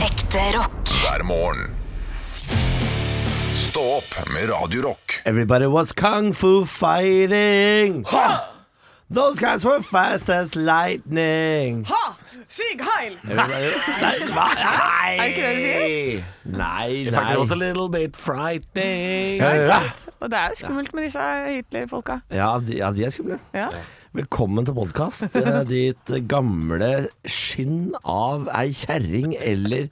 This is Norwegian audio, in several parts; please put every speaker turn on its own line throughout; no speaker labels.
Ekte rock.
hver morgen. Stå opp med Radio Rock.
Everybody was kung fu fighting. Those guys were fast as lightning.
Ha! Sig heil!
Everybody- Nei, hva? Nei.
Er det ikke det du sier?
Nei,
In fact,
nei.
it was a little bit frightening.
Ja, ja.
Og det er jo skummelt med disse Hitler-folka.
Ja, de, ja, de er skumle.
Ja.
Velkommen til podkast. Ditt gamle skinn av ei kjerring eller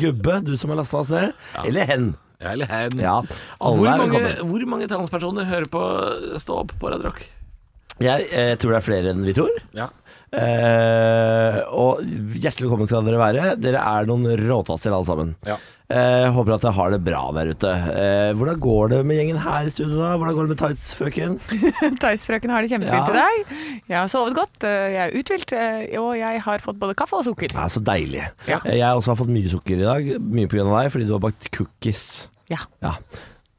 gubbe, du som har lasta oss ned. Eller hen.
Ja, eller hen.
Ja, alle
Hvor
er
mange,
velkommen.
hvor mange transpersoner hører på Stå opp på Radio Rock?
Jeg eh, tror det er flere enn vi tror. Eh, og hjertelig velkommen skal dere være. Dere er noen råtasser alle sammen. Eh, håper at dere har det bra der ute. Eh, hvordan går det med gjengen her i studio, da? Hvordan går det med tights-frøken?
Theis-frøken har det kjempefint
Ja.
i dag. Jeg har sovet godt, eh, jeg er uthvilt, eh, og jeg har fått både kaffe og sukker.
Ja, så deilig.
Ja.
Eh, Jeg har også fått mye sukker i dag. Mye pga. deg, fordi du har bakt cookies.
Ja.
Ja.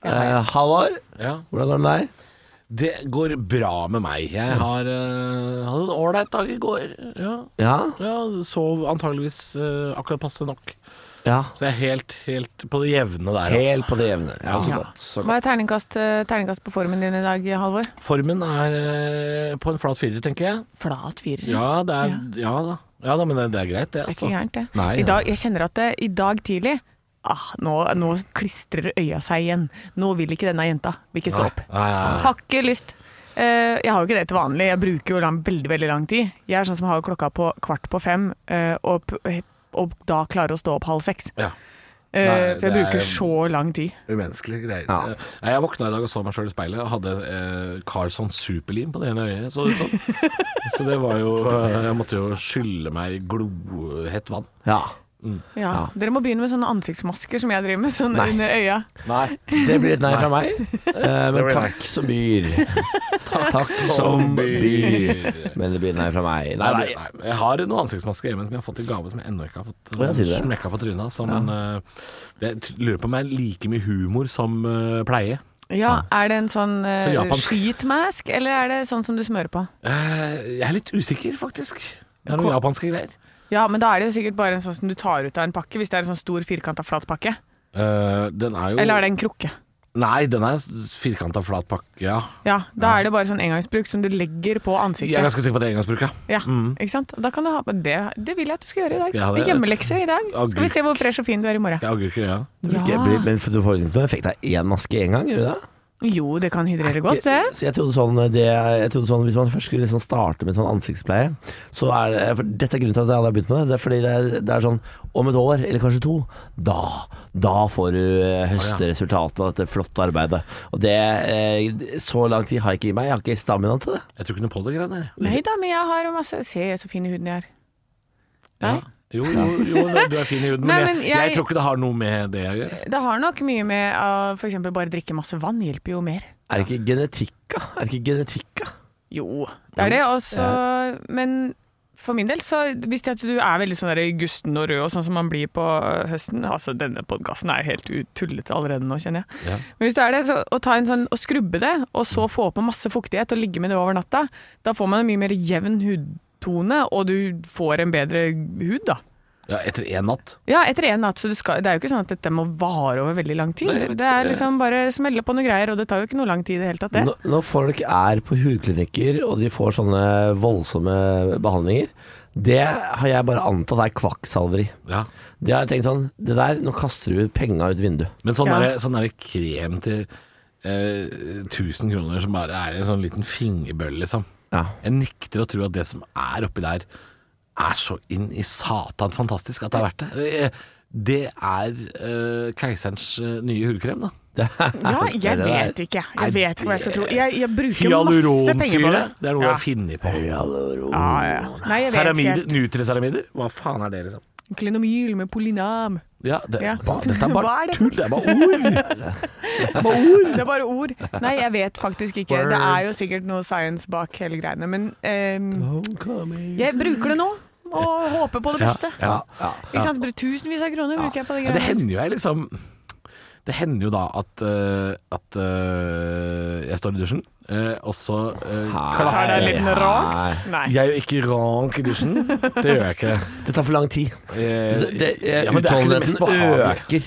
Eh, Halvor,
Ja.
hvordan går det med deg?
Det går bra med meg. Jeg har eh, hadde en ålreit dag i går. Ja.
Ja?
ja, sov antageligvis eh, akkurat passe nok.
ja.
Så jeg er helt, helt på det jevne der. altså.
Helt på det jevne. Ja, så
Ja.
godt. Så godt.
Hva er terningkast, eh, terningkast på formen din i dag, Halvor?
Formen er eh, på en flat firer, tenker jeg.
Flat firer.
Ja, det er, ja. da. ja da, men det, det er greit, det.
Det er ikke
Altså.
gærent, det.
Nei,
I dag, jeg kjenner at det, i dag tidlig Ah, nå, nå klistrer øya seg igjen. Nå vil ikke denne jenta. Vil ikke stå opp.
Nei, nei, nei.
Har ikke lyst. Eh, jeg har jo ikke det til vanlig. Jeg bruker jo lang, veldig veldig lang tid. Jeg er sånn som har klokka på kvart på fem, eh, og, p- og da klarer å stå opp halv seks.
Ja.
Eh,
Nei,
for jeg
det er-
bruker så lang tid.
Umenneskelige greier.
Ja.
Nei, Jeg våkna i dag og så meg sjøl i speilet og hadde eh, Carlsson superlim på det ene øyet. Så, det ut som. så det var jo eh, Jeg måtte jo skylle meg i glohett vann.
Ja.
Ja. Dere må begynne med sånne ansiktsmasker som jeg driver med, sånn
Nei.
under øya.
Nei.
Det blir et nei fra meg, eh, men
blir nei.
takk som byr. Takk, som
som
byr.
byr.
Men det blir et nei fra meg. Nei,
Nei,
nei.
Jeg har noen ansiktsmasker hjemme som jeg har fått i gave som jeg ennå ikke har fått
Ja, sier du det?
smekka på trynet. Som eh, Jeg t- lurer på om jeg er like mye humor som eh, pleie.
Ja, Er det en sånn
Sånn
uh,
japansk.
skitmask, eller er det sånn som du smører på?
Eh, jeg er litt usikker, faktisk. Det er noen
Ko-
japanske greier.
Ja, men da er det jo sikkert bare en sånn som du tar ut av en pakke, hvis det er en sånn stor firkanta flat pakke.
Eh, den er jo
Eller er det en krukke?
Nei, den er firkanta flat pakke, ja.
Ja, da er det bare sånn engangsbruk som du legger på ansiktet.
Jeg er ganske sikker på at det er engangsbruk, ja.
Ja, ikke sant? Og Da kan du ha, men det, det vil jeg at du skal gjøre i dag.
Skal jeg ha det?
Hjemmelekse i dag.
Agurk.
Skal vi se hvor fresh og fin du er i morgen.
Jeg agurker, ja.
Det blir ikke- blir- Men du får ikke noe effekt av én maske én gang, gjør du det?
Jo, det kan hydrere godt, det.
Så jeg trodde sånn, det, jeg trodde sånn Hvis man først skulle liksom starte med sånn ansiktspleie så er, det- for Dette er grunnen til at jeg aldri har begynt med det. Det er fordi det er, det er sånn Om et år, eller kanskje to, da, da får du eh, høste resultatene av dette flotte arbeidet. Og det eh, Så lang tid har jeg ikke i meg. Jeg har ikke stamina til det.
Jeg tror ikke noe på det greiene der.
Nei da, men jeg har jo masse Se så fin i huden jeg er.
Ja.
Nei.
Jo, jo, jo, du er fin i huden,
Nei, men
men jeg, jeg
jeg-
tror ikke det har noe med det å gjøre.
Det har nok mye med å f.eks. bare drikke masse vann, hjelper jo mer.
Er det ikke genetikka? Er det ikke genetikka?
Jo, det er det også, men for min del, så hvis det at du er veldig sånn der gusten og rød og sånn som man blir på høsten Altså, denne podkasten er helt ut- tullete allerede nå, kjenner jeg.
Ja.
Men hvis det er det, så å ta en sånn og skrubbe det, og så få på masse fuktighet og ligge med det over natta, da får man en mye mer jevn hudtone, og du får en bedre hud, da.
Ja, etter én natt.
Ja, etter én natt, så det, skal, det er jo ikke sånn at dette må vare over veldig lang tid.
Nei, jeg vet
det er
ikke.
liksom bare smelle på noe greier, og det tar jo ikke noe lang tid i det hele tatt, det.
Når, når folk er på hudklinikker og de får sånne voldsomme behandlinger, det har jeg bare antatt er kvakksalveri.
Ja.
Det har jeg tenkt sånn Det der, nå kaster du penga ut vinduet.
Men sånn
Ja.
derre sånn der krem til eh, 1000 kroner som bare er en sånn liten fingerbølle, liksom.
Ja.
Jeg nekter å tro at det som er oppi der, er så inn i satan fantastisk at det er verdt det. det. Det er eh, keiserens eh, nye hudkrem, da.
Det er
Ja,
det
jeg
der.
vet ikke. Jeg vet ikke hva jeg skal tro. Jeg, jeg bruker masse penger på
Hyaluronsyre.
det.
Det er noe
Ja.
jeg har funnet på.
Hyaluron.
Ja, ja. Nei, jeg vet ikke
Ceramider,
helt.
Nutri-ceramider? Hva faen er det, liksom?
Klinomyl med polinam.
Ja, det,
Ja.
Hva, dette er bare
Hva er det?
tull, det er bare ord!
Det er bare ord. Nei, jeg vet faktisk ikke. Det er jo
Words.
sikkert noe science bak hele greiene, men ehm,
Homecoming.
jeg bruker det nå. Og håper på det beste.
Ja, ja.
Ja.
Ikke sant? Bare Tusenvis av kroner bruker jeg på de
Ja, det
greiene.
hender jo jeg liksom Det hender jo da at, eh, at eh, jeg står i dusjen, eh, og så
Tar deg
eh,
en
klapper jeg.
liten rank? Nei.
Jeg er jo ikke rank i dusjen. Det gjør jeg ikke.
Det tar for lang tid.
Eh,
Det, det,
ja, men det er ikke det mest
utholdenheten
behagelige.
øker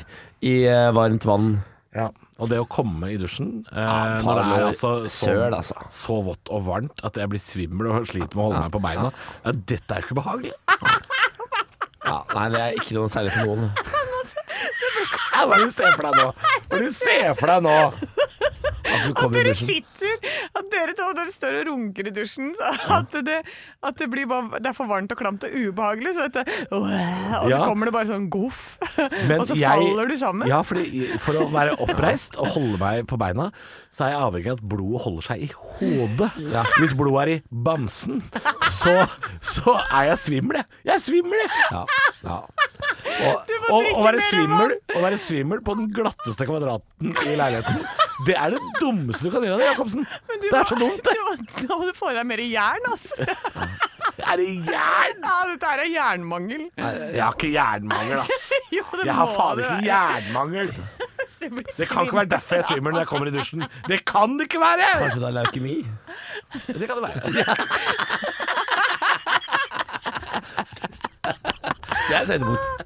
i eh, varmt vann.
Ja. Og det å komme i dusjen eh,
faen,
når det
det
er
er
altså så,
søl, altså.
så vått og varmt at jeg blir svimmel og sliter med å holde meg på beina, ja, dette er jo ikke behagelig.
Ja, nei, det er ikke noe særlig for noen.
Ja, Hva er det du ser for deg nå? Hva er det du ser for deg nå?
At du kommer i
Dere
dusjen.
sitter At dere to dere står og runker i dusjen. Så at det, at det, blir bare, det er for varmt og klamt og ubehagelig. Så dette, og så
Ja.
kommer det bare sånn goff.
Men
Og så
jeg-
faller du sammen.
Ja, fordi for å være oppreist og holde meg på beina, så er jeg avhengig av at blodet holder seg i hodet. Hvis blodet er i bamsen, så, så er jeg svimmel, jeg. Jeg er svimmel, jeg.
Ja, ja.
Og,
må
og,
drikke
å, være
mer
svimmel, å være svimmel på den glatteste kvadraten i leiligheten, det er det dummeste du kan gjøre, Jacobsen.
Men du
Det
må-
er så dumt, det.
du må- Da må du få i deg mer jern, altså.
Er det jern?
Ja, dette her er jernmangel.
Jeg har ikke jernmangel, ass.
Jo, det
Jeg har
må
faen
det
ikke
være.
jernmangel.
Det blir
Det kan ikke
svinn.
være derfor jeg svimmer når jeg kommer i dusjen. Det kan det ikke være!
Kanskje det er leukemi?
Det kan det være.
Det er et høydepunkt.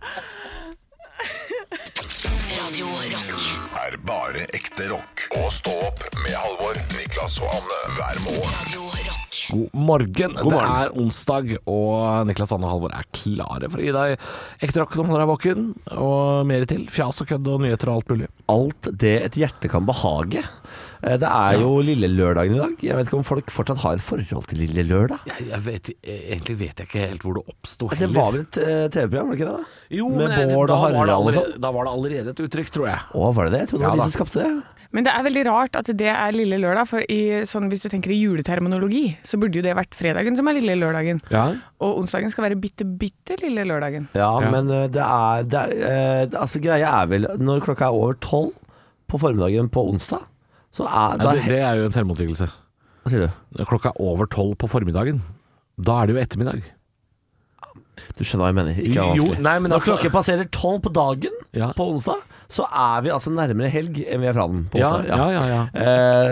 Radio Rock.
Er bare ekte rock. Og stå opp med Halvor, Niklas og Anne hver morgen.
Radio Rock.
God morgen. Det er onsdag, og Niklas Anne og Halvor er klare for å gi deg ekte rock som holder deg våken, og mer til. Fjas og kødd og nyheter og alt mulig.
Alt det et hjerte kan behage. Eh, Det er jo lille lørdagen i dag. Jeg vet ikke om folk fortsatt har et forhold til lille lørdag.
Jeg, jeg vet, egentlig vet jeg ikke helt hvor det oppsto
Det var vel et eh, TV-program, var det ikke det? da?
jo,
med
men jeg-
Bård
da
og
var det
Harald og
allerede- Da var det allerede et uttrykk, tror jeg.
Å, var det det? Jeg trodde det
Ja,
var
da.
de som skapte det.
Men det er veldig rart at det er lille lørdag, for i, sånn, hvis du tenker i juleterminologi, så burde jo det vært fredagen som er lille lørdagen. Og onsdagen skal være bitte, bitte lille lørdagen.
Ja,
Ja.
men eh, det er, det er eh, det- Altså, greia er vel når klokka er over tolv på formiddagen på onsdag, så er
Nei,
da,
det, det er jo en selvmotsigelse.
Hva sier du?
Klokka er over tolv på formiddagen. Da er det jo ettermiddag.
Du skjønner hva jeg mener. Ikke
Jo,
vanskelig.
nei, men
Når
altså-
klokken passerer tolv på dagen
Ja.
på onsdag, så er vi altså nærmere helg enn vi er fra den. På
Ja,
onsdag.
ja, ja, ja.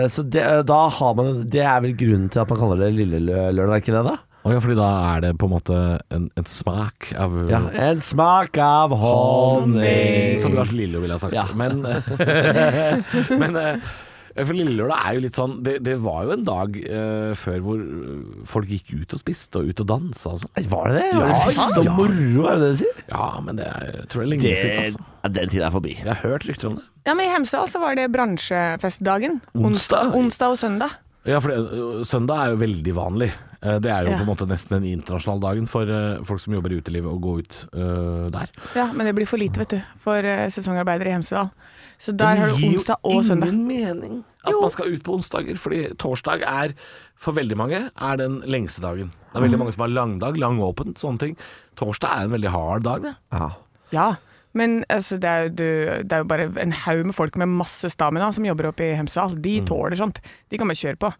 Eh, så det, da har man Det er vel grunnen til at man kaller det lille lø- lørdag, er ikke det da?
Å ja, fordi da er det på en måte en, en smak av
Ja. En smak av honning.
Mm. Som Lars Lillo ville ha sagt.
Ja.
Men, men eh, for Lillelørdag er jo litt sånn Det, det var jo en dag eh, før hvor eh, folk gikk ut og spiste og ut og dansa og sånn.
Var det det? Var det
Ja,
fest og
ja.
moro, er det det du sier?
Ja, men det er, jeg tror det er lenge siden. Altså.
ja, den tiden er forbi.
Jeg har hørt rykter om det.
Ja, men I Hemsedal så var det bransjefestdagen.
Onsdag?
Onsdag og søndag.
Ja, for det, ø, søndag er jo veldig vanlig. Eh, Det er jo
Ja.
på en måte nesten den internasjonale dagen for eh, folk som jobber i utelivet, å gå ut ø, der.
Ja, Men det blir for lite, vet du, for eh, sesongarbeidere i Hemsedal. Så der har du onsdag og
Det
søndag.
gir jo ingen mening at man skal ut på onsdager, fordi torsdag er for veldig mange er den lengste dagen. Det
Mm.
er veldig mange som har langdag, langåpent, sånne ting. Torsdag er en veldig hard dag, det.
Ja.
Ja, men altså, det, er jo, du, det er jo bare en haug med folk med masse stamina som jobber oppe i Hemsedal. De
Mm.
tåler sånt. De kan bare kjøre på.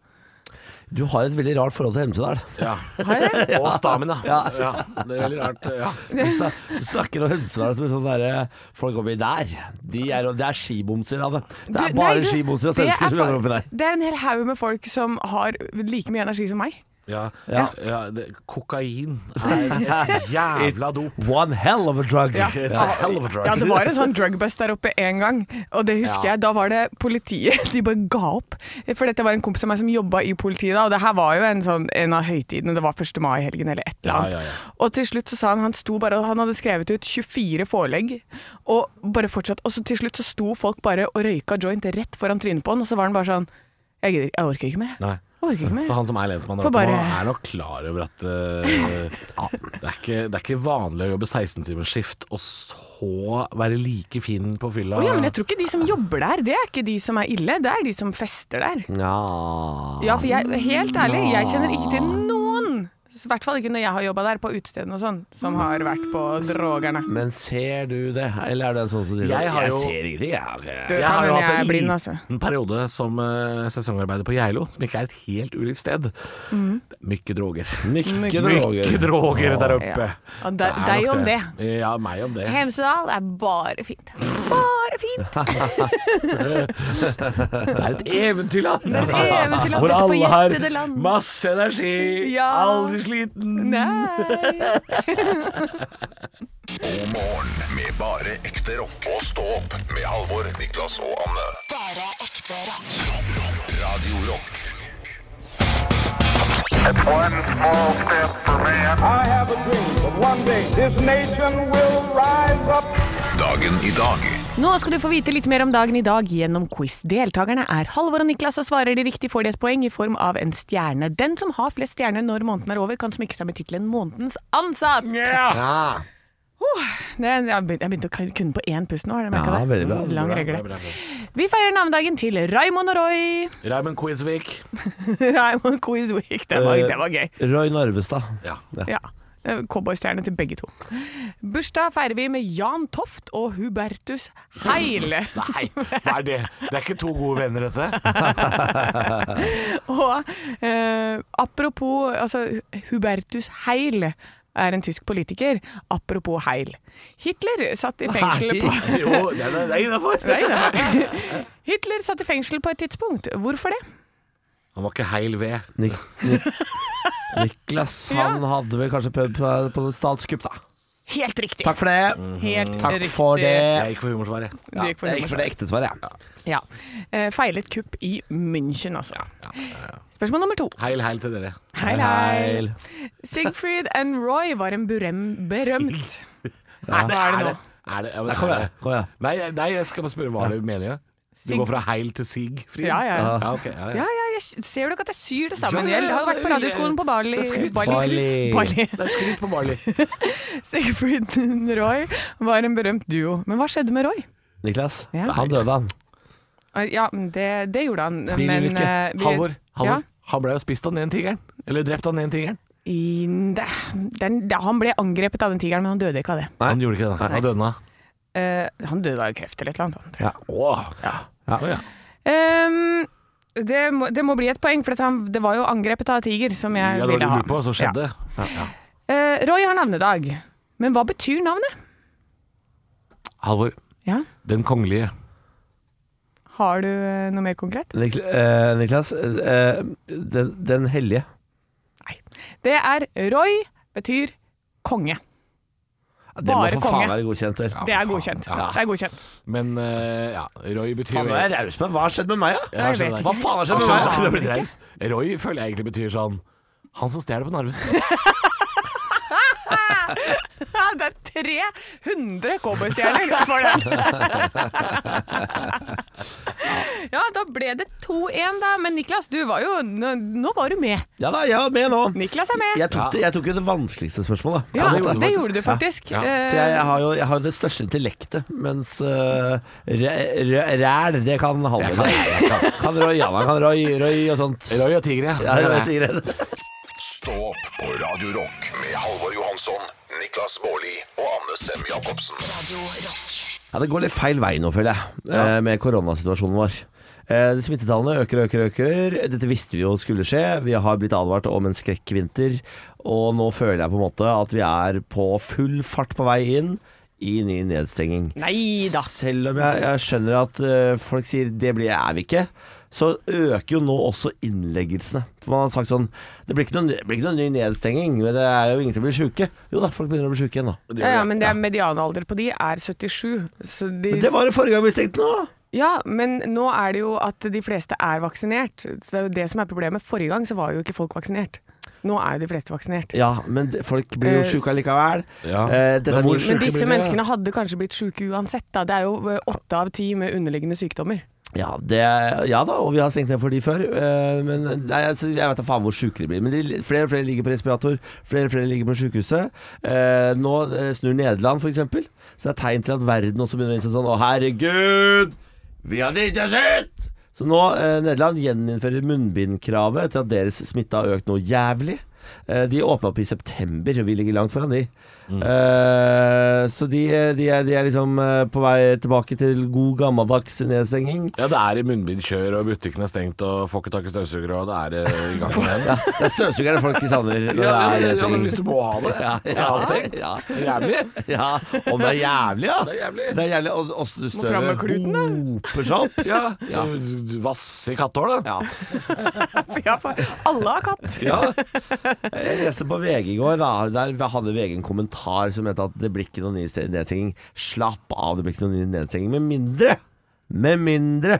Du har et veldig rart forhold til Hemsedal.
Har jeg det?
Og stamina. Ja.
Ja.
det er veldig rart. Ja.
Du snak- du snakker om Hemsedal som en sånn derre Folk oppi der, de er, det er skibomser av det. Det er
Du, nei,
bare
du,
skibomser og
det er
svensker som
fa-
jobber oppi der.
Det er en hel haug med folk som har like mye energi som meg.
Ja.
Ja.
Ja, det, kokain er et jævla dop.
One hell of a drug.
Ja.
It's a hell of a drug.
Ja, det var en sånn drugbust der oppe en gang, og det husker
Ja.
jeg. Da var det politiet. De bare ga opp. For dette var en kompis av meg som jobba i politiet da, og det her var jo en, sånn, en av høytidene. Det var 1. mai-helgen eller et eller
Ja,
annet.
ja, ja.
Og til slutt så sa han han sto bare og Han hadde skrevet ut 24 forelegg, og bare fortsatt. Og så til slutt så sto folk bare og røyka joint rett foran trynet på han, og så var han bare sånn Jeg gidder, jeg orker ikke mer. jeg.
Nei.
Jeg orker ikke mer.
Så han som er lensmann der
Får
oppe nå,
bare-
er nok klar over at eh, det, er ikke, det er ikke vanlig å jobbe 16-timersskift og så være like fin på fylla.
Å ja, men jeg tror ikke de som jobber der, det er ikke de som er ille, det er de som fester der.
Ja.
Ja, for jeg, helt ærlig, jeg kjenner ikke til
Ah.
noen, i hvert fall ikke når jeg har jobba der, på utestedene og sånn, som har vært på Drogerne.
Men ser du det, eller er det en sånn som sier
Jeg har jo-
ingenting, jeg har
Du,
ikke-
Jeg har
kan
jo
hende
hatt
jeg
en
er blind,
liten
altså.
periode som eh, sesongarbeider på Geilo, som ikke er et helt ulikt sted.
Mm.
Det er Mye droger.
Mykke
Mye droger der oppe.
Ja. Og de-
er
deg
nok
om
Ja, meg om det.
Hemsedal er bare fint. Bare er fint.
Det er et eventyrland!
Det er et eventyrland,
Hvor
dette
alle
forjettede
har
land.
masse energi,
Ja.
aldri sliten.
Nei.
God morgen med bare ekte rock. Og stå opp med Halvor, Niklas og Anne.
Bare ekte rock.
Radio Rock.
One small step for man. I have a dream that one day this nation will rise up.
Dagen i dag.
Nå skal du få vite litt mer om dagen i dag gjennom quiz. Deltakerne er Halvor og Niklas, og svarer de riktig får de et poeng i form av en stjerne. Den som har flest stjerner når måneden er over, kan smykke seg med tittelen 'Månedens ansatt'.
Ja.
Det, jeg begyn- jeg begynte å kun- kunne på én pust nå, har dere merket
Ja,
det?
veldig bra.
Mm, Lang
Bra,
regle.
bra, bra, bra.
Vi feirer navnedagen til Raymond og Roy.
Raymond Quizvik.
Raymond Quiz Week, det
Eh,
var, det var gøy.
Roy Narvestad.
Ja.
Ja. Eh, Cowboystjerne til begge to. Bursdag feirer vi med Jan Toft og Hubertus Heile.
Nei, hva er det? Det er ikke to gode venner, dette.
Og eh, apropos altså, Hubertus Heil er en tysk politiker. Apropos Heil. Hitler satt i fengsel på
Jo, det er, det er innafor.
Nei, det var- Hitler satt i fengsel på et tidspunkt. Hvorfor det?
Han var ikke heil ved.
Nik Nik Niklas, han hadde vel kanskje prøvd på, på det statskupp, da.
Helt riktig.
Takk for det.
Helt
Takk
riktig.
for det.
Jeg gikk for humorsvaret.
Du gikk for
Jeg gikk for det ekte svaret, jeg.
Ja. Eh, feilet kupp i München, altså. Spørsmål nummer to.
Heil, heil til dere.
Heil, heil. Sigfried and Roy var en berøm, berømt Nei, hva er det nå?
Er det, ja, men,
Nei, Kom igjen. Kom igjen.
Nei, nei, jeg skal bare spørre hva du mener. Du
Sig-
går fra heil til sig, Frid?
Ja, ja.
ja, ok, ja,
Ja,
ja.
ja, jeg ser du ikke at jeg syr det sammen?
Ja, ja, ja,
Jeg har jo vært på
det-
radioskolen på Barley.
det er skryt.
Barley.
Barley.
Det er skryt på Marley.
Sigfried and Roy var en berømt duo. Men hva skjedde med Roy?
Niklas,
Ja.
han døde, han.
Ja, det, det gjorde han. Men
Bilulykke.
eh, vi-
Halvor, Halvor
Ja.
han ble jo spist av den ene tigeren. Eller drept av den ene tigeren.
I, det, den, det, han ble angrepet av den tigeren, men han døde ikke av det.
Han gjorde ikke det. Han døde nå.
Eh, han døde av kreft eller et eller annet. tror jeg.
Åh.
Ja.
Å, ja.
Ehm, det, må, det må bli et poeng, for at han, det var jo angrepet av tiger som jeg
Ja, det var det
ville
du
ha.
lurte på, så skjedde. Ja. Ja.
Ja. Eh, Roy har navnedag, men hva betyr navnet?
Halvor,
Ja.
den kongelige.
Har du eh, noe mer konkret?
Nikl eh, Niklas, eh, den, den hellige.
Det er Roy betyr konge.
Det
Bare
må for
konge.
faen være godkjent, vel.
Ja,
Det er
for faen.
godkjent.
Ja.
Det er godkjent.
Men eh, ja, Roy betyr
Faen, nå er jeg raus med Hva har skjedd med meg, da?
Ja,
Jeg vet
skjønner.
Hva faen har skjedd med
Skjønner
meg?
du? Jeg blir raus. Roy føler jeg egentlig betyr sånn Han som stjeler på Narvesen.
Ja, det er 300 cowboystjerner for den. ja, da ble det 2-1, da. Men Niklas, du var jo Nå, nå var du med.
Ja da, jeg er med nå.
Niklas er med.
Jeg tok, det, jeg tok jo det vanskeligste spørsmålet.
Ja,
det gjorde du
det gjorde
faktisk.
du faktisk.
Ja.
Eh,
Så jeg, jeg, har jo, jeg har jo det største intellektet, mens øh, ræ- ræ- ræl, det kan Halvor.
Jeg kan- jeg
Kan, kan Roy, ja, han kan Roy, Roy og sånt.
Roy og tigre.
Ja, jeg vet ikke det.
Stå opp på Radio Rock med Halvor Johansson, Niklas Baarli og Anne Sem Jacobsen.
Radio rock.
Ja, det går litt feil vei nå, føler jeg, eh, med koronasituasjonen vår. Eh, de Smittetallene øker og øker og øker. Dette visste vi jo skulle skje. Vi har blitt advart om en skrekkvinter, og nå føler jeg på en måte at vi er på full fart på vei inn i ny nedstenging.
Nei da.
Selv om jeg, jeg skjønner at eh, folk sier det blir er vi ikke, så øker jo nå også innleggelsene. For man har sagt sånn Det blir ikke noen, det blir ikke noen ny nedstenging, men det er jo ingen som blir sjuke. Jo da, folk begynner å bli sjuke igjen nå.
Ja, ja, men det er medianalder på de er 77. Så de,
Men det var jo forrige gang vi stengte nå!
Ja, men nå er det jo at de fleste er vaksinert. Så det er jo det som er problemet. Forrige gang så var jo ikke folk vaksinert. Nå er jo de fleste vaksinert.
Ja, men det- folk blir jo
Eh,
sjuke allikevel.
Ja.
Eh, dette
Men
er
hvor
min-
sjuke
Men
blir
disse
de,
menneskene hadde kanskje blitt sjuke uansett. Da. Det er jo eh, åtte av ti med underliggende sykdommer.
ja, det, ja da, og vi har stengt ned for de før. eh, men nei, altså, Jeg vet da faen hvor sjuke de blir. Men de, flere og flere ligger på respirator. Flere og flere ligger på sjukehuset. Eh, nå eh, snur Nederland, f.eks. Så det er tegn til at verden også begynner å innse sånn Å, herregud! Vi har driti oss ut! Så nå, eh, Nederland gjeninnfører munnbindkravet etter at deres smitte har økt noe jævlig. Eh, de åpna opp i september, og vi ligger langt foran de. Eh, så de, de, er, de er liksom eh, på vei tilbake til god gammeldags nedstenging.
Ja, det er i munnbindkjør, og butikken er stengt, og får ikke tak i støvsugere, og det er eh, i gang med det.
Ja, det er støvsugerne folk i savner når det er
Ja, ja, men
nedstenging.
hvis du må ha det, så er det stengt.
ja,
Jævlig.
ja. Og det er jævlig, ja.
Det er jævlig.
Det er jævlig. Og, og
fram med
støvet
kluten, da.
hoper seg opp.
Ja. Du Vasse i kattehålet.
Ja.
Ja, for alle har katt.
Jeg leste på VG i går, da. Der hadde VG en kommentar som het at det blir ikke noen ny sted- nedstenging. Slapp av, det blir ikke noen ny nedstenging. Med mindre, med mindre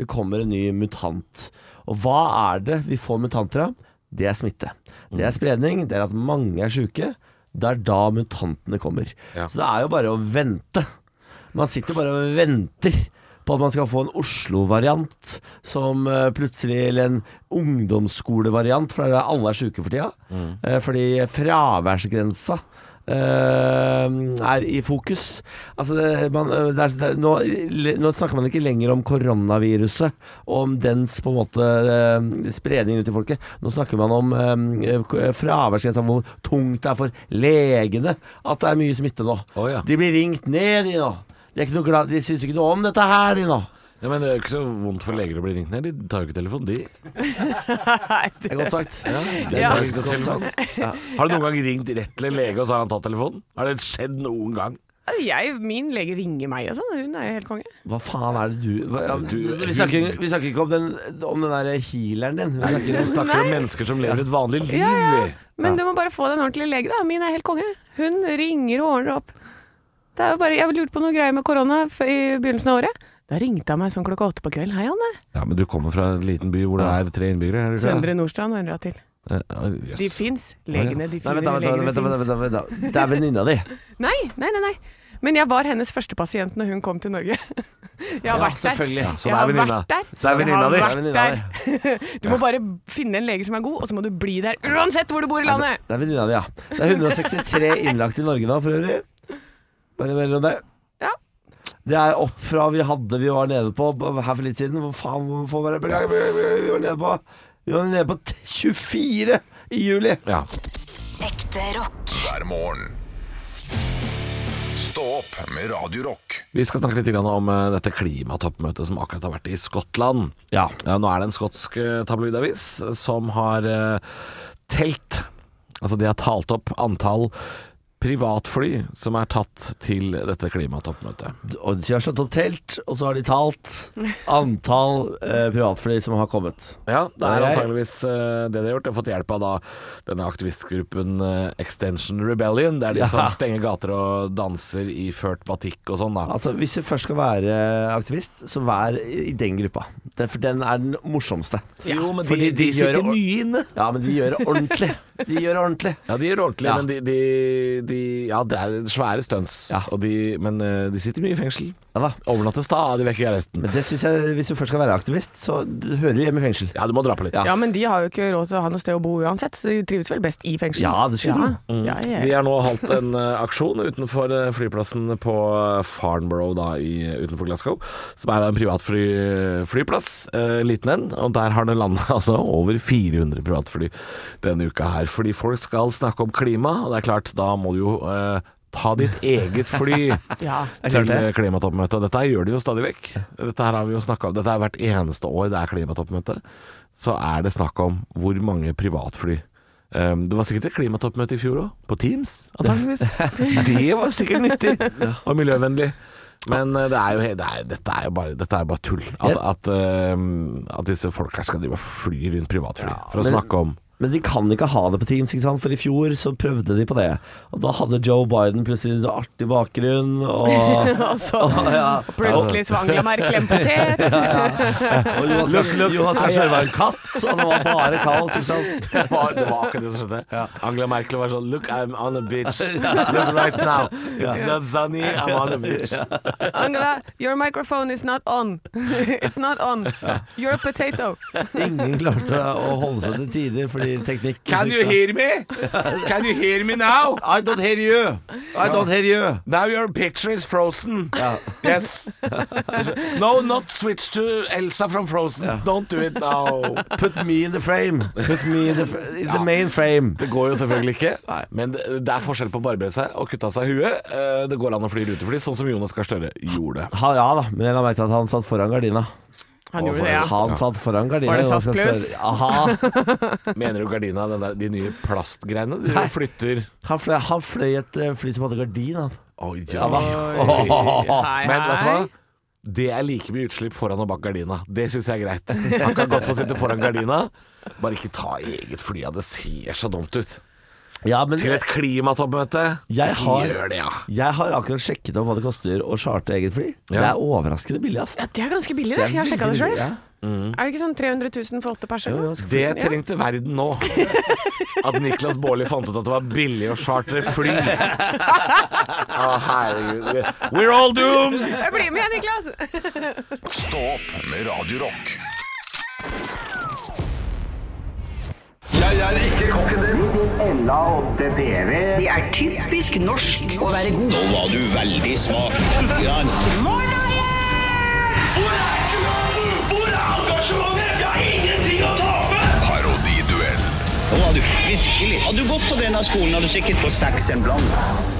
det kommer en ny mutant. Og hva er det vi får mutanter av? Det er smitte. Det
Mm.
er spredning. Det er at mange er sjuke. Det er da mutantene kommer.
Ja.
Så det er jo bare å vente. Man sitter bare og venter på at man skal få en Oslo-variant som eh, plutselig Eller en ungdomsskolevariant, for det er der alle er sjuke for tida. Eh, Fordi fraværsgrensa eh, er i fokus. Altså det, man, eh, det er, det, er- nå, nå snakker man ikke lenger om koronaviruset og om dens på en måte eh, spredning ut i folket. Nå snakker man om eh, k- fraværsgrensa, hvor tungt det er for legene at det er mye smitte nå.
Å, ja.
De blir ringt ned, de nå. De, er ikke noe glad, de syns ikke noe om dette her, de nå.
Ja, men det er jo ikke så vondt for leger å bli ringt ned. De tar jo ikke telefonen, de.
Nei,
Det
det-
er godt sagt.
de
Ja.
tar ikke
Godt
telefonen.
sagt.
Har du noen gang ringt rett til en lege, og så har han tatt telefonen? Har det skjedd noen gang?
jeg, min lege ringer meg og sånn. Hun er jo helt konge.
Hva faen er det du, hva, ja,
Du-
vi, snakker, vi snakker ikke om den, om den der healeren din. Vi snakker
Vi
om
snakker om mennesker som lever et vanlig liv.
Ja, ja.
vi.
Men du må bare få deg en ordentlig lege, da. Min er helt konge. Hun ringer og ordner opp. Det er jo bare, jeg lurte på noe greier med korona f- i begynnelsen av året. Da ringte han meg sånn klokka åtte på kvelden. Hei, Anne.
Ja, men du kommer fra en liten by hvor det er tre innbyggere? Er du ikke det?
Søndre Nordstrand og en rad til.
Eh,
De
jøss.
fins. Legene, de
Nei,
fine
vent, da, vent, da,
legene
vent, da,
fins.
vent, da, vent, da. Det er venninna di.
Nei, nei, nei, nei. Men jeg var hennes første pasient når hun kom til Norge. Jeg
Ja,
har vært der.
selvfølgelig.
jeg
Så det
har
er venninna.
vært der.
Så det er
Jeg har
venninna di.
vært- Det er
vært der. Du må bare finne en lege som er god, og så må du bli der uansett hvor du bor i landet.
Det er venninna di, ja. Det er 163 innlagt i Norge nå, for øvrig. Bare mellom det.
Ja.
Det er opp fra vi hadde vi var nede på her for litt siden. Hvor faen får vi Beklager, vi var nede på Vi var nede på 24 i juli.
Ja.
Ekte rock.
hver morgen. Stå opp med Radio Rock.
Vi skal snakke litt grann om eh, dette klimatoppmøtet som akkurat har vært i Skottland.
Ja.
Ja, nå er det en skotsk eh, tabloidavis eh, som har eh, telt Altså de har talt opp antall privatfly som er tatt til dette klimatoppmøtet.
Og de har slått opp telt, og så har de talt antall eh, privatfly som har kommet.
Ja, det er
Nei, jeg-
antageligvis eh, det de har gjort. De har fått hjelp av da denne aktivistgruppen eh, Extension Rebellion. Det er de
Ja.
som stenger gater og danser iført batikk og sånn, da.
Altså, Hvis du først skal være aktivist, så vær i i den gruppa. Den- For den er den morsomste.
Jo, men
Fordi de gjør or-
mye inne.
Ja, men de gjør det ordentlig. De gjør det ordentlig.
Ja, de gjør ordentlig,
Ja.
men de, de, de Ja, det er svære stunts.
Ja.
Og de, men eh, de sitter mye i fengsel.
Ja da.
Overnatter stadig vekk i arresten.
Men det synes jeg, hvis du først skal være aktivist, så d- hører du hjemme i fengsel.
Ja, du må dra på litt.
Ja.
Ja, men de har jo ikke råd til å ha noe sted å bo uansett, så de trives vel best i fengsel.
Ja, det Mm. skulle jeg
tro. Ja, ja,
De
ja.
har nå holdt en eh, aksjon utenfor eh, flyplassen på eh, Farnborough da, i, utenfor Glasgow, som er en privat fly, flyplass, eh, liten en, og der har det landet altså, over 400 privatfly denne uka her. Fordi folk skal snakke om klima, og det er klart, da må du jo eh, ta ditt eget fly
Ja.
klart
til
det.
klimatoppmøtet. Og Dette gjør de jo stadig vekk. Dette her har vi jo snakket om. Dette er hvert eneste år det er klimatoppmøte. Så er det snakk om hvor mange privatfly. Um, det var sikkert et klimatoppmøte i fjor òg, på Teams antakeligvis. Det var sikkert nyttig og miljøvennlig. Men uh, det er jo, he- det er, dette, er jo bare, dette er jo bare tull. At, at, um, at disse folk her skal drive og fly rundt privatfly for å
men-
snakke om
Men de kan ikke ha det på Teams, ikke sant? for i fjor så prøvde de på det. Og da hadde Joe Biden plutselig så artig bakgrunn, og,
Og så og plutselig så var Angela Merkel en potet.
og Johan Skar- Johan Skar Sjøre var en katt, og det var bare kaos, ikke sant.
det var, det var akkurat det som skjedde. Angela Merkel var sånn Look, I'm on a beach. Look right now. It's so sunny, I'm on a beach.
Angela, your microphone is not on. It's not on. You're a potato.
Ingen klarte å holde seg til tider fordi i teknikk.
Can you hear me? Can you hear me now?
I don't hear you! I don't hear you!
Now your picture is frozen. Yes. No, not switch to Elsa from Frozen. Don't do it now.
Put me in the frame. Put me in the, fr- in the main frame.
Det går jo selvfølgelig ikke, men det det er forskjell på å barbere seg og kutte av seg huet. Eh, Det går an å fly rutefly, sånn som Jonas Gahr Støre gjorde.
Ha, ja da, men jeg la merke til at han satt foran gardina.
Han gjorde det, ja.
Han satt foran gardina.
Var det
Jonas Gahr
saftplaus?
Støre. Aha.
Mener du gardina, den der, de nye plastgreiene? De flytter
Han fløy, han fløy et eh, fly som hadde gardin, han.
Å, ja.
Ja, hva?
Hei,
Men vet du hva?
hei.
Det er like mye utslipp foran og bak gardina. Det syns jeg er greit. Han kan godt få sitte foran gardina. Bare ikke ta eget fly av, det ser så dumt ut.
Ja, men
Til et klimatoppmøte.
Jeg har-
Gjør det, ja.
jeg har akkurat sjekket om hva det koster å charte eget fly. Det
Ja.
er overraskende billig, altså.
Ja, det er ganske billig,
Det
det.
er
Jeg har sjekka det
veldig
sjøl.
billig, ja.
Er det ikke sånn 300 000 for åtte personer?
Det trengte verden nå. At Niklas Baarli fant ut at det var billig å chartre fly. Å, herregud. We're all doomed!
Jeg blir med, Niklas!
Stå opp med Radio Rock.
Ella 8TV. Det er typisk norsk å være god. Nå var du veldig smak.
Hvor er engasjementet? Jeg har ingenting å tape!
Parodiduell.
Nå var du virkelig. Hadde du gått på denne skolen, hadde du sikkert fått seks en blank.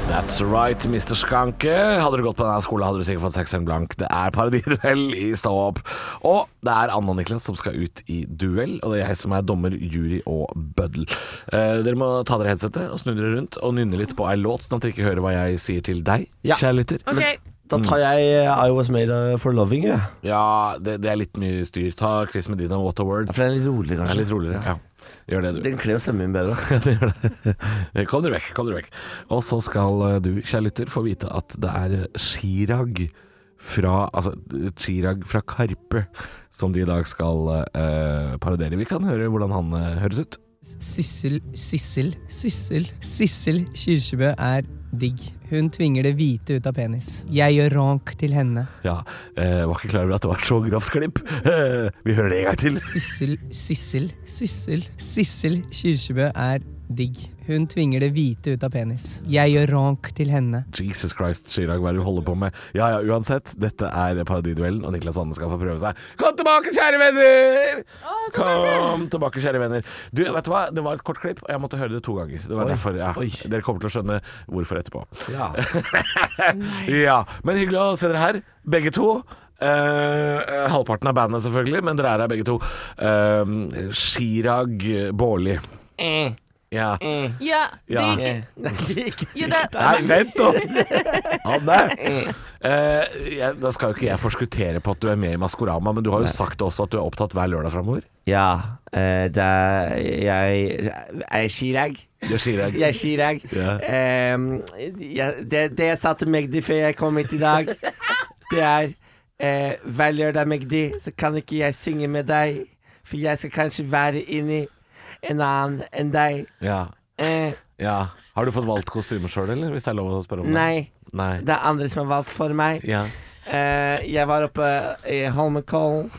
That's right, Mr. Skanke. Hadde du gått på denne skolen, hadde du sikkert fått sekseren blank. Det er parodiduell i Stå opp. Og det er Anna og Niklas som skal ut i duell, og det er jeg som er dommer, jury og bøddel. Eh, dere må ta dere headsetet og snu dere rundt og nynne litt på ei låt, sånn at dere ikke hører hva jeg sier til deg,
Ja.
kjære lytter.
Ok,
Da tar jeg eh, I Was Made eh, For Loving You. jeg.
Ja, det, det er litt mye styr. Ta Chris Medina, What a Words.
For den er litt rolig,
Det er
kanskje.
litt roligere. Ja. Gjør det, du.
Den kler jo stemmen min bedre.
Det gjør det. Kom dere vekk, kom dere vekk. Og så skal eh, du, kjære lytter, få vite at det er Chirag fra Altså Chirag fra Karpe som de i dag skal eh, parodere. Vi kan høre hvordan han eh, høres ut.
Sissel, Sissel, Sissel, Sissel Kyrkjebø er digg. Hun tvinger det hvite ut av penis. Jeg gjør rank til henne.
Ja, eh, var ikke klar over at det var et så grovt klipp. Eh, vi hører det en gang til.
Sissel, Sissel, Sissel, Sissel Kyrkjebø er digg. Hun tvinger det hvite ut av penis. Jeg gjør rank til henne.
Jesus Christ, Chirag, hva er det du holder på med? Ja ja, uansett, dette er Paradiduellen, og Niklas Anne skal få prøve seg. Kom tilbake, kjære venner! Kom tilbake, kjære venner. Du, vet du hva? Det var et kort klipp, og jeg måtte høre det to ganger. Det var derfor, ja.
Oi.
Dere kommer til å skjønne hvorfor etterpå.
Ja.
Ja, Men hyggelig å se dere her, begge to. Eh, halvparten av bandet, selvfølgelig, men dere er her begge to. Eh, Chirag Baarli. Ja.
ja,
Ja.
digg. Ja, det-
Nei, vent nå! Anne! Eh, jeg, da skal jo ikke jeg forskuttere på at du er med i Maskorama, men du har jo sagt også at du er opptatt hver lørdag framover.
Ja, eh, det er Jeg er Chirag.
Det sier jeg.
Jeg er Chirag.
Ja.
Ehm, jeg- det, det jeg sa til Magdi før jeg kom hit i dag, det er eh, Hver lørdag, Magdi, så kan ikke jeg synge med deg, for jeg skal kanskje være inni en annen enn deg.
Ja.
Eh,
ja. Har du fått valgt kostyme sjøl, eller? Hvis det er lov å spørre om
nei,
det? Nei.
det er andre som har valgt for meg.
Ja.
Eh, jeg var oppe i Holmenkollen,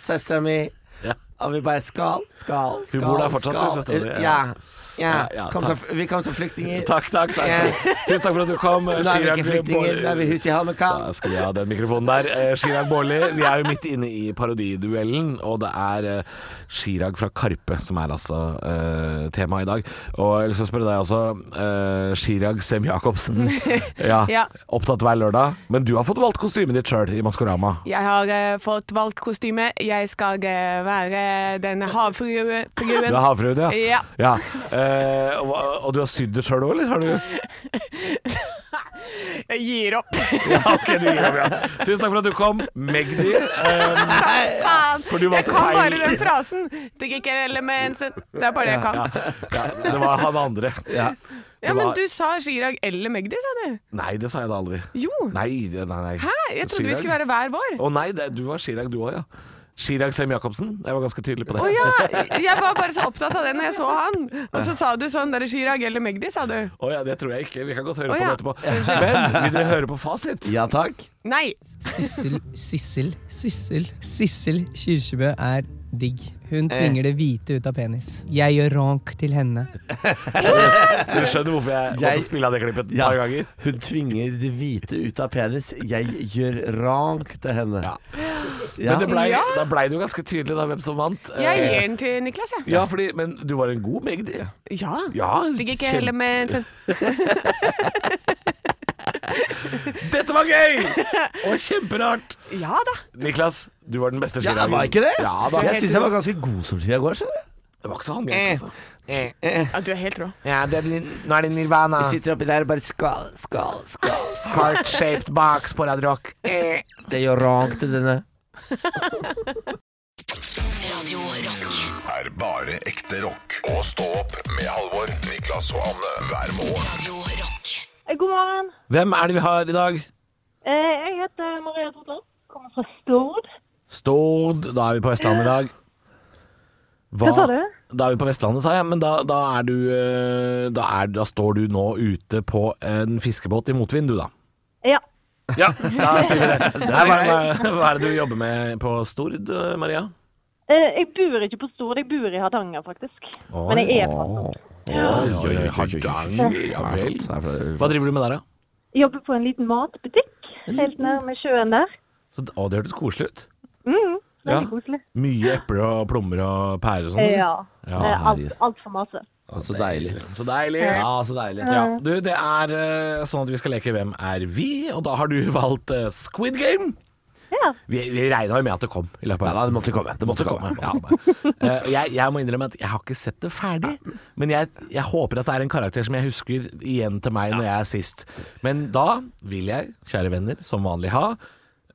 søstera mi,
Ja.
og vi bare skal, skal, skal.
bor der fortsatt,
skal.
du, søsteren din,
Ja.
ja.
ja.
Ja, ja,
kom
takk.
som- vi kom som flyktninger.
Takk, takk. takk.
Ja.
Tusen takk for at du kom.
Nå er vi
Chirag
ikke flyktninger,
Baarli.
nå er vi hus i
Da
Holmenkollen.
skulle jeg ha den mikrofonen der. Eh, Chirag Baarli, vi er jo midt inne i parodiduellen, og det er eh, Chirag fra Karpe som er altså eh, temaet i dag. Og jeg har lyst til å spørre deg også, eh, Chirag Sem-Jacobsen. Ja,
Ja.
Opptatt hver lørdag, men du har fått valgt kostymet ditt sjøl i Maskorama.
Jeg har eh, fått valgt kostyme. Jeg skal eh, være den havfruen.
Eh, Du er havfrue, ja?
Ja.
Eh, og, hva- og du har sydd det sjøl òg, eller? Har du?
Jeg gir opp.
Ja, ok, du gir opp, ja. Tusen takk for at du kom, Magdi. Eh,
Faen!
For du
Jeg
valgte
kan bare
feil.
den frasen. Det gikk elementen. Det er bare det jeg kan.
ja, det var han andre.
Ja,
Det
Men
var-
du sa Chirag eller Magdi, sa du?
Nei, det sa jeg da aldri.
Jo.
Nei, det- nei, nei.
Hæ? Jeg trodde vi
Chirag?
skulle være hver vår.
Å nei, det, du var Chirag du òg, ja. Chirag Sem-Jacobsen. Jeg var ganske tydelig på det.
Å ja! Jeg var bare så opptatt av det når jeg så han. Og
Eh.
så sa du sånn der Chirag eller Magdi, sa du.
Å ja, det tror jeg ikke. Vi kan godt
Å
høre på
ja.
det etterpå. Men vil dere høre på fasit?
Ja takk.
Nei.
Sissel, Sissel, Sissel Sissel Kyrkjebø er digg. Hun tvinger det hvite ut av penis. Jeg gjør rank til henne.
Du skjønner hvorfor jeg
Jeg-
måtte spille av det klippet et
Ja.
par ganger.
Hun tvinger det hvite ut av penis. Jeg gjør rank til henne.
Ja.
Ja.
Men det blei,
Ja.
da blei det jo ganske tydelig da hvem som vant.
Jeg
Eh,
gir den til Niklas, jeg.
ja, fordi, men du var en god megd.
Ja.
Ja,
Ligger ikke
kjem-
heller med en sånn
Dette var gøy! Og kjemperart.
Ja da.
Niklas, du var den beste
Ja,
skidagen.
var jeg ikke det?
Ja, da.
jeg syns jeg var Eh. ganske god som skier i går. skjønner du?
Det var ikke så håndjern, altså.
Ja, du er helt rå.
Ja, det er, nå er det Nirvana.
sitter oppi der og bare skal, skal, skal.
Cart-shaped box på Rad Rock.
Det gjør rank til denne.
Radio Rock.
er bare ekte rock. Og stå opp med Halvor, Niklas og Anne hver morgen.
Radio Rock.
God morgen.
Hvem er det vi har i dag?
Eh, Jeg heter Maria Trotland. Kommer fra Stord.
Stord. Da er vi på Vestlandet i dag. Hva?
sa du?
Da er vi på Vestlandet, sa jeg. Men da, da, er du, eh, da, er, da står du nå ute på en fiskebåt i motvind, du da.
Ja.
Ja, da sier vi det. Nei, hva, hva, hva er det du jobber med på Stord, eh, Maria?
Eh, Jeg bor ikke på Stord, jeg bor i Hardanger, faktisk. Men jeg er fra Stord.
Oi, oi, oi, Hardanger, ja vel. Hva driver du med der, da?
Jeg Jobber på en liten matbutikk helt nærme sjøen der.
Så, å, det hørtes koselig ut.
Mm,
Ja.
veldig koselig.
Mye epler og plommer og pærer og sånn.
Eh,
eller?
Ja.
Ja,
Eh,
herregud.
alt- Altfor masse.
Så deilig.
Så deilig.
Ja, så deilig.
Ja, du, det er eh, sånn at vi skal leke Hvem er vi? Og da har du valgt eh, Squid Game.
Ja.
Vi, vi regna jo med at det kom i løpet
Ja, da,
av
det måtte komme. Det måtte komme.
Ja. Eh, og jeg, jeg må innrømme at jeg har ikke sett det ferdig, men jeg, jeg håper at det er en karakter som jeg husker igjen til meg når jeg er sist. Men da vil jeg, kjære venner, som vanlig ha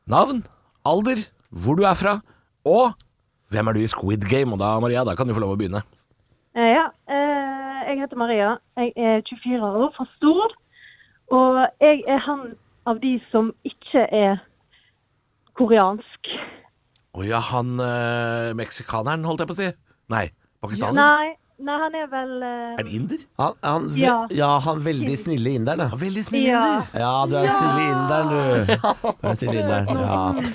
navn, alder, hvor du er fra, og hvem er du i Squid Game? Og da, Maria, da kan du få lov å begynne.
Eh, Ja. Eh, Jeg heter Maria. Jeg er 24 år, fra Stord. Og jeg er han av de som ikke er koreansk.
Å ja, han eh, meksikaneren, holdt jeg på å si. Nei, pakistaner.
Nei, nei han er vel eh,
Er det inder?
Han, han, ja.
Ja.
han veldig snille inderen,
Ja,
da.
veldig snill
Ja.
inder.
Ja, du er den snille inderen, du. Du er den snille inderen. Ja.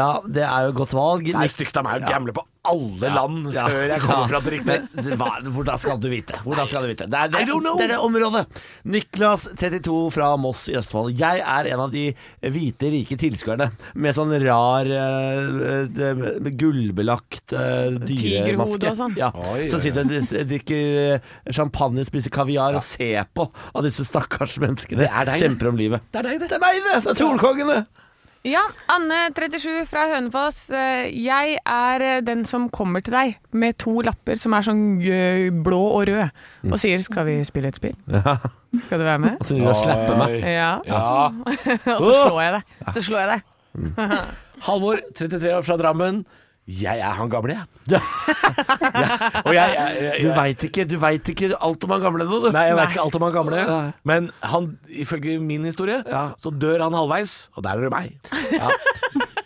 ja, det er jo et godt valg.
Det er stygt av meg å gamble på alle land
Ja.
før jeg kommer fram til riktig.
Men det- hva, hvordan skal du vite? Hvordan skal du vite? Det er det,
I don't know.
det er det området. Niklas 32 fra Moss i Østfold. Jeg er en av de hvite, rike tilskuerne med sånn rar eh, det- med gullbelagt eh, dyremaske.
Tigerhode og sånn.
Ja.
Oi,
Som
oi,
sitter og dis- drikker eh, champagne, spiser kaviar og ser på av disse stakkars menneskene.
Det er deg, det.
Kjemper om livet.
Det er deg, det.
Det er meg, det! Det er Tornkongene!
Ja, Anne 37 fra Hønefoss. Eh, Jeg er eh, den som kommer til deg med to lapper som er sånn eh, blå og rød, og sier 'skal vi spille et spill'? Skal du være med?
Så de vil slappe meg.
Ja.
Ja.
Og så slår jeg deg. Så slår jeg deg.
Halvor, 33 år fra Drammen. Jeg er han gamle, jeg. Ja. Og jeg, jeg, jeg,
Du
jeg
veit ikke, du vet ikke alt om han gamle nå, du.
Nei, jeg vet ikke alt om han gamle,
Nei.
men han, ifølge min historie,
Ja.
så dør han halvveis, og der er det meg.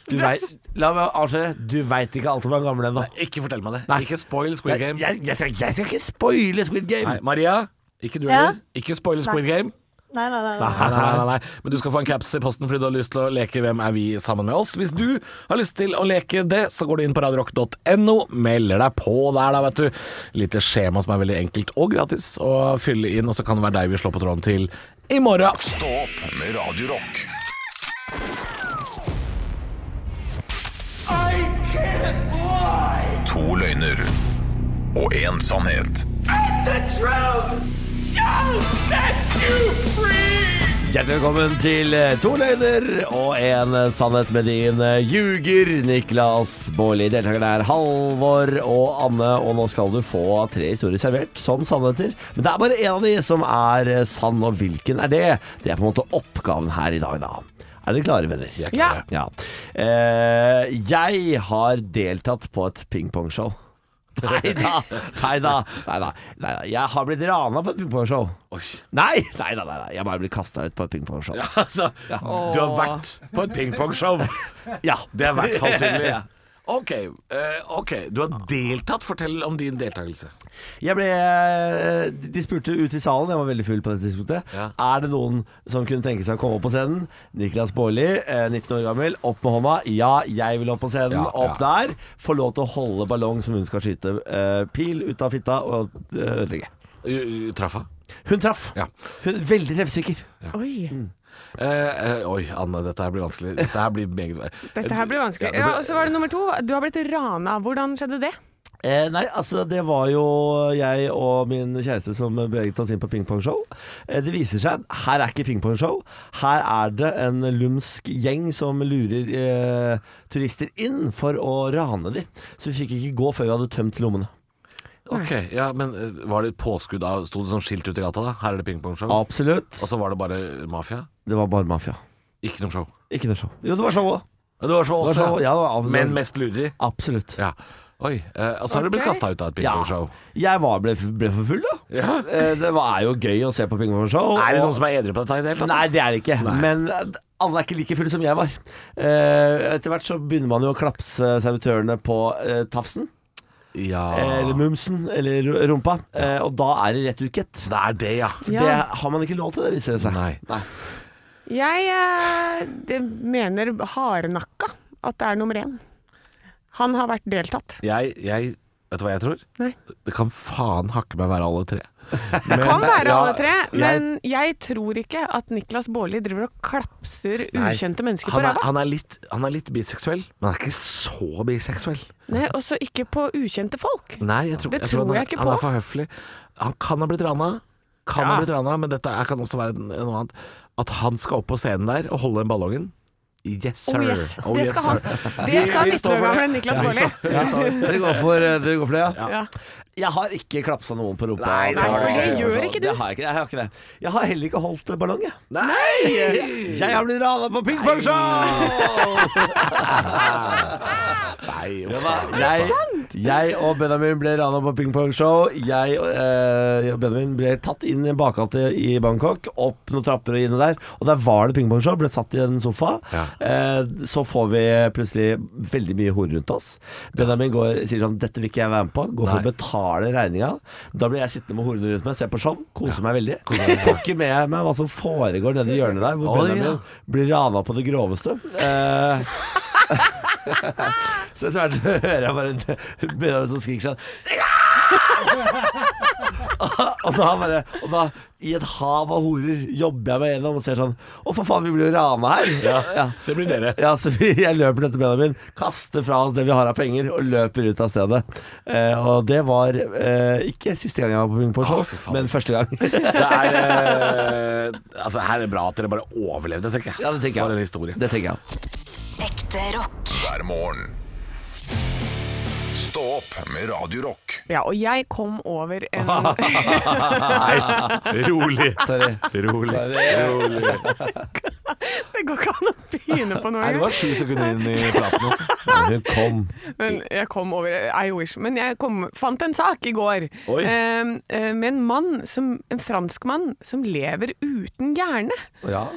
Du vet, la meg avsløre. Du veit ikke alt om han gamle ennå.
Ikke fortell meg det.
Nei.
Ikke spoil Squid Game.
Jeg, jeg, skal, jeg skal ikke spoile Squid Game.
Nei, Maria, ikke du
Ja?
heller. Ikke spoil Squid Game.
Nei, nei, nei. nei.
Nei, nei, nei, nei. Men du skal få en caps i posten fordi du har lyst til å leke Hvem er vi sammen med oss. Hvis du har lyst til å leke det, så går du inn på radiorock.no, melder deg på der, da, vet du. Lite skjema som er veldig enkelt og gratis å fylle inn, og så kan det være deg vi slår på tråden til i morgen.
Stå opp med Radio Rock. To løgner og én sannhet.
Hjertelig velkommen til eh, To løgner og en eh, sannhet med din eh, ljuger, Niklas Baarli. Deltakerne er Halvor og Anne, og nå skal du få tre historier servert som sannheter. Men det er bare én av de som er eh, sann, og hvilken er det? Det er på en måte oppgaven her i dag, da. Er dere klare, venner?
er
klare.
Ja. Eh, jeg har deltatt på et pingpongshow. Nei da, nei da. Nei da. Nei da. Jeg har blitt rana på et pingpongshow.
Oi.
Nei, nei, nei, nei, nei. jeg bare blir kasta ut på et pingpongshow. Ja.
Altså, du har vært på et pingpongshow.
ja,
Det er i hvert fall tydelig. Ok, eh, ok. Du har deltatt. Fortell om din deltakelse.
Jeg ble, eh, de spurte ut i salen, jeg var veldig full på dette tidspunktet.
Ja.
Er det noen som kunne tenke seg å komme opp på scenen? Niklas Baarli, eh, 19 år gammel, opp med hånda. Ja, jeg vil opp på scenen.
Ja,
opp
ja.
der. Få lov til å holde ballong som hun skal skyte eh, pil ut av fitta og eh, ødelegge.
Uh, Traff hun?
Hun traff!
Ja.
Hun er veldig treffsikker.
Oi.
Eh, eh, oi, Anne, dette her blir vanskelig. Dette her blir meget
Dette her blir vanskelig.
Ja,
Ja, og så var det nummer to. Du har blitt rana. Hvordan skjedde det?
Eh, nei, altså det var jo jeg og min kjæreste som beveget oss inn på pingpongshow. Eh, det viser seg at her er ikke pingpongshow. Her er det en lumsk gjeng som lurer eh, turister inn for å rane dem. Så vi fikk ikke gå før vi hadde tømt lommene.
Ok, ja, men eh, var det et påskudd av Sto det sånn skilt ute i gata da? Her er det pingpongshow.
Absolutt.
Og så var det bare mafia?
Det var bare mafia.
Ikke noe show.
Ikke noe show. Jo, det var show òg.
Ja, Det var show
Det
også,
var show, ja, det var-
men mest lureri.
Absolutt.
Ja. Oi. eh, og så har du blitt
Ok.
kasta ut av et
Ja.
pingpongshow.
Jeg var, ble, ble for full, da.
Ja.
Eh, det var, er jo gøy å se på pingpongshow.
Er det
og-
noen som er edru på dette i det hele tatt?
Nei, det er det ikke. Men eh, alle er ikke like fulle som jeg var. Eh, etter hvert så begynner man jo å klapse servitørene på eh, tafsen.
Ja.
Eller mumsen, eller ru- rumpa. Eh, og da er det rett ukett.
Det er det, ja.
Ja.
Det har man ikke lov til, det viser det seg.
Nei.
Jeg eh, det mener hardnakka at det er nummer én. Han har vært deltatt.
Jeg, jeg Vet du hva jeg tror?
Nei.
Det kan faen hakke meg være alle tre.
Det kan være alle tre,
jeg-
men jeg tror ikke at Niklas Baarli driver og klapser
Nei.
ukjente mennesker på
han er,
ræva.
han, er litt, han er litt biseksuell, men han er ikke så biseksuell.
Nei, Også ikke på ukjente folk.
Nei, jeg tror,
Det
tror
tror
han,
jeg
er-
ikke
Han
på.
er for høflig. Han kan ha blitt rana, kan ha
Ja.
blitt rana, men dette er, kan også være en- noe annet. At han skal opp på scenen der og holde den ballongen. Yes, sir.
Oh yes,
Oh,
det
yes,
skal
sir.
han. Det skal
Vi- vi
19
står
år
for det.
gamle Niklas
Ja, vi
Baarli.
står- vi står-
Dere går for, eh, dere går for det, ja?
Ja.
Jeg har ikke klapsa noen på rumpa.
Nei,
nei, for det gjør ikke du.
Det har jeg, ikke, jeg har ikke det. Jeg har heller ikke holdt ballong, jeg.
Nei!
Jeg har blitt rana på pingpongshow!
Nei,
Det
uff
var-
da.
jeg, jeg og Benjamin ble rana på pingpongshow. Jeg og eh, og Benjamin ble tatt inn i en bakgate i Bangkok, opp noen trapper og inne der. Og der var det pingpongshow. Ble satt i en sofa.
Ja.
Eh, så får vi plutselig veldig mye horer rundt oss. Benjamin går, sier sånn 'Dette vil ikke jeg være med på'. Går for å
Nei.
betale regninga. Da blir jeg sittende med horene rundt meg, se på show, kose meg veldig. Får ikke med meg hva som foregår nede i hjørnet der, hvor
Å,
Benjamin
ja.
blir rana på det groveste. Eh, så etter hvert så hører jeg bare en Benjamin som skriker sånn og da bare Og da, i et hav av horer, jobber jeg meg gjennom og ser sånn Å, for faen, vi blir jo rana her. Ja.
Det blir dere.
Ja, så vi, jeg løper etter Benjamin, kaster fra oss det vi har av penger, og løper ut av stedet. Eh, og det var eh, ikke siste gang jeg var på
Å,
Pingpongshow,
fy
show
faen.
men første gang.
Det er, eh, altså, her er det bra at dere bare overlevde, tenker jeg.
Ja, det tenker jeg.
For en historie.
det tenker jeg.
Ekte rock.
hver morgen. Stå opp med Radio Rock.
Ja, og jeg kom over en
Nei, rolig.
Sorry.
Rolig. rolig.
Det går ikke an å begynne på noe.
Nei, det var sju sekunder inn i platen. Altså.
Hun kom.
Men jeg kom over I wish. Men jeg kom, fant en sak i går
Oi.
eh, eh, med en mann, som, en franskmann, som lever uten hjerne.
Ja.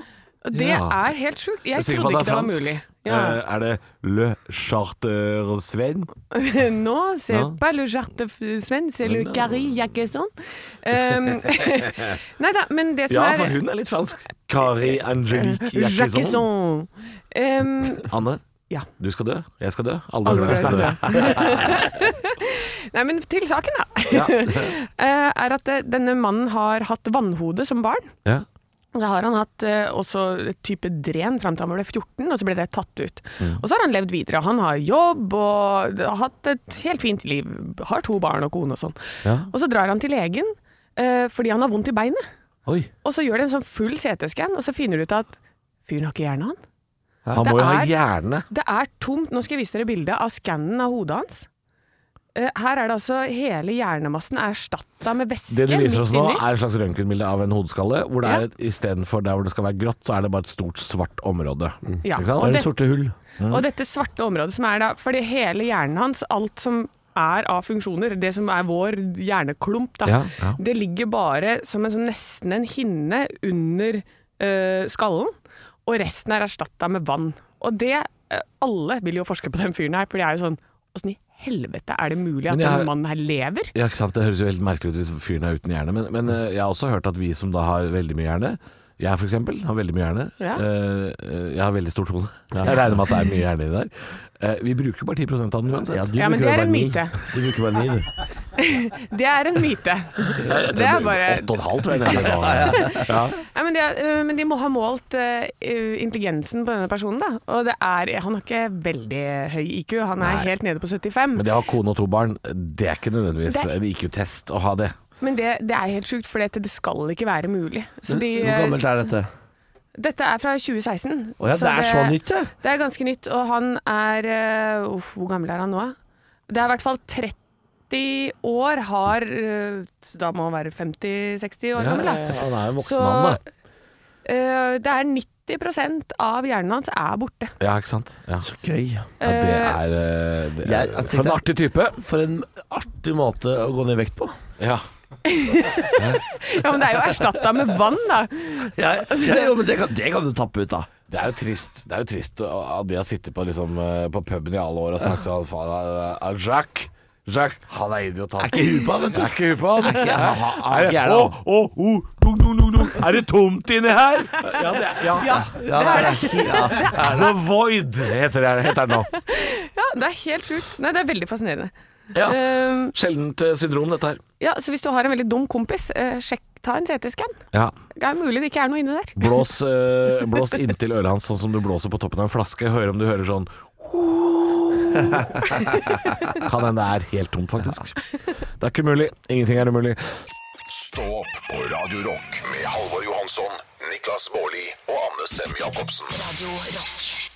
Og det
Ja.
er helt sjukt. Jeg
sikker på
trodde
at
ikke det var
fransk?
mulig. Ja.
Eh, er det Le Charter Svein?
Nå, c'est
Ja.
pas le jarte sven, c'est le
No.
carri jacquesson. nei da, men det som
Ja, for
er
hun er litt fransk. Eh, Kari Angelique
Jacquesson.
Jackison.
Um,
Anne,
Ja.
du skal dø. Jeg skal dø. Alle
Alle
dere
dere
skal dø.
Nei, men til saken, da. Eh, er at eh, denne mannen har hatt vannhode som barn.
Ja.
Så har han hatt eh, også et type dren fram til han ble 14, og så ble det tatt ut.
Mm.
Og så har han levd videre. Han har jobb og har hatt et helt fint liv. Har to barn og kone og sånn.
Ja.
Og så drar han til legen eh, fordi han har vondt i beinet.
Oi.
Og så gjør de en sånn full CT-scan, og så finner du ut at fyren har ikke hjerne, han.
Han må jo ha
Det er-
hjerne.
Det er tomt. Nå skal jeg vise dere bildet av skannen av hodet hans. Eh, Her er det altså hele hjernemassen er erstatta med væske
Det du viser oss nå,
inni.
er et slags røntgenbilde av en hodeskalle. Hvor det
Ja.
er et- istedenfor der hvor det skal være grått, så er det bare et stort, svart område.
Ja,
Ikke sant?
og
Det
det-
sorte hull.
Mm.
Og dette svarte området som er da Fordi hele hjernen hans, alt som er av funksjoner, det som er vår hjerneklump, da,
Ja, ja.
det ligger bare som en sånn nesten en hinne under eh, skallen, og resten er erstatta med vann. Og det eh, alle vil jo forske på den fyren her, for de er jo sånn Åssen i helvete er det mulig at
Men jeg har-
den mannen her lever?
Ja, ikke sant? Det høres jo helt merkelig ut hvis fyren er uten hjerne, men, men eh, jeg har også hørt at vi som da har veldig mye hjerne jeg for eksempel har veldig mye hjerne.
Ja.
Eh, eh, jeg har veldig stort hode. så Jeg regner med at det er mye hjerne i det der. Eh, vi bruker bare 10 av den uansett.
Ja, du
Ja, men
bruker
det er
bare
en
ni.
myte.
Du bruker bare ni, du.
Det er en myte.
Jeg tror
Det er bare
Åtte og en halv, tror jeg. nede nå. Ja.
Nei, men, de, er- øh, men de må ha målt øh, øh, intelligensen på denne personen, da. Og det er, han har ikke veldig høy IQ, han er
Nei.
helt nede på 75. Men
Men
det,
det å ha kone og to barn, det er ikke nødvendigvis
Det-
en IQ-test å ha det.
det, er helt sjukt, for det, det skal ikke være mulig. Så de, øh,
Hvor gammelt er dette?
Dette er fra 2016.
Å ja, det er så nytt, det!
Det er ganske nytt, og han er øh, uff, Hvor gammel er han nå, da? Det er i hvert fall 30 år har øh, Da må han være 50-60 år
Ja,
gammel,
ja,
da.
ja, han er jo en voksen mann, da.
eh, det er 90 av hjernen hans er borte.
Ja, ikke sant. Ja,
Så gøy.
ja det er, eh, det
Jeg-
er
jeg tenkte-
For en artig type.
For en artig måte å gå ned i vekt på.
Ja.
Ja, men det er jo erstatta med vann, da.
Ja, ja, jo, men det kan, det kan du tappe ut, da.
Det er jo trist Det er jo trist at de har sittet på, liksom, eh, på puben i alle år og sagt sånn Faen, eh, eh, Jack Jack, han er idiot, han. Er ikke hupa, vet du. Er ikke hupa, han.
ikke- ha- ha- ha-
Er det-
gæren,
Å,
han.
å, å, dunk, dunk, dunk, dunk. Er det tomt inni her? Ja, det er, ja.
Ja, det er det. Ja.
The Void heter det, heter det nå.
Ja, det er helt sjukt. Nei, det er veldig fascinerende.
Ja.
Ehm,
Sjeldent eh, syndrom, dette her.
ja, så hvis du har en veldig dum kompis, eh, sjekk, ta en CT-skann.
Ja.
Det er mulig det ikke er noe inni der.
Blås, eh, blås inntil øret hans, sånn som du blåser på toppen av en flaske. Hør om du hører sånn Kan hende det er helt tomt, faktisk. Det er ikke mulig. Ingenting er umulig.
Stå opp på Radio Rock med Halvor Johansson, Niklas Baarli og Anne Sem Jacobsen.
Radio Rock.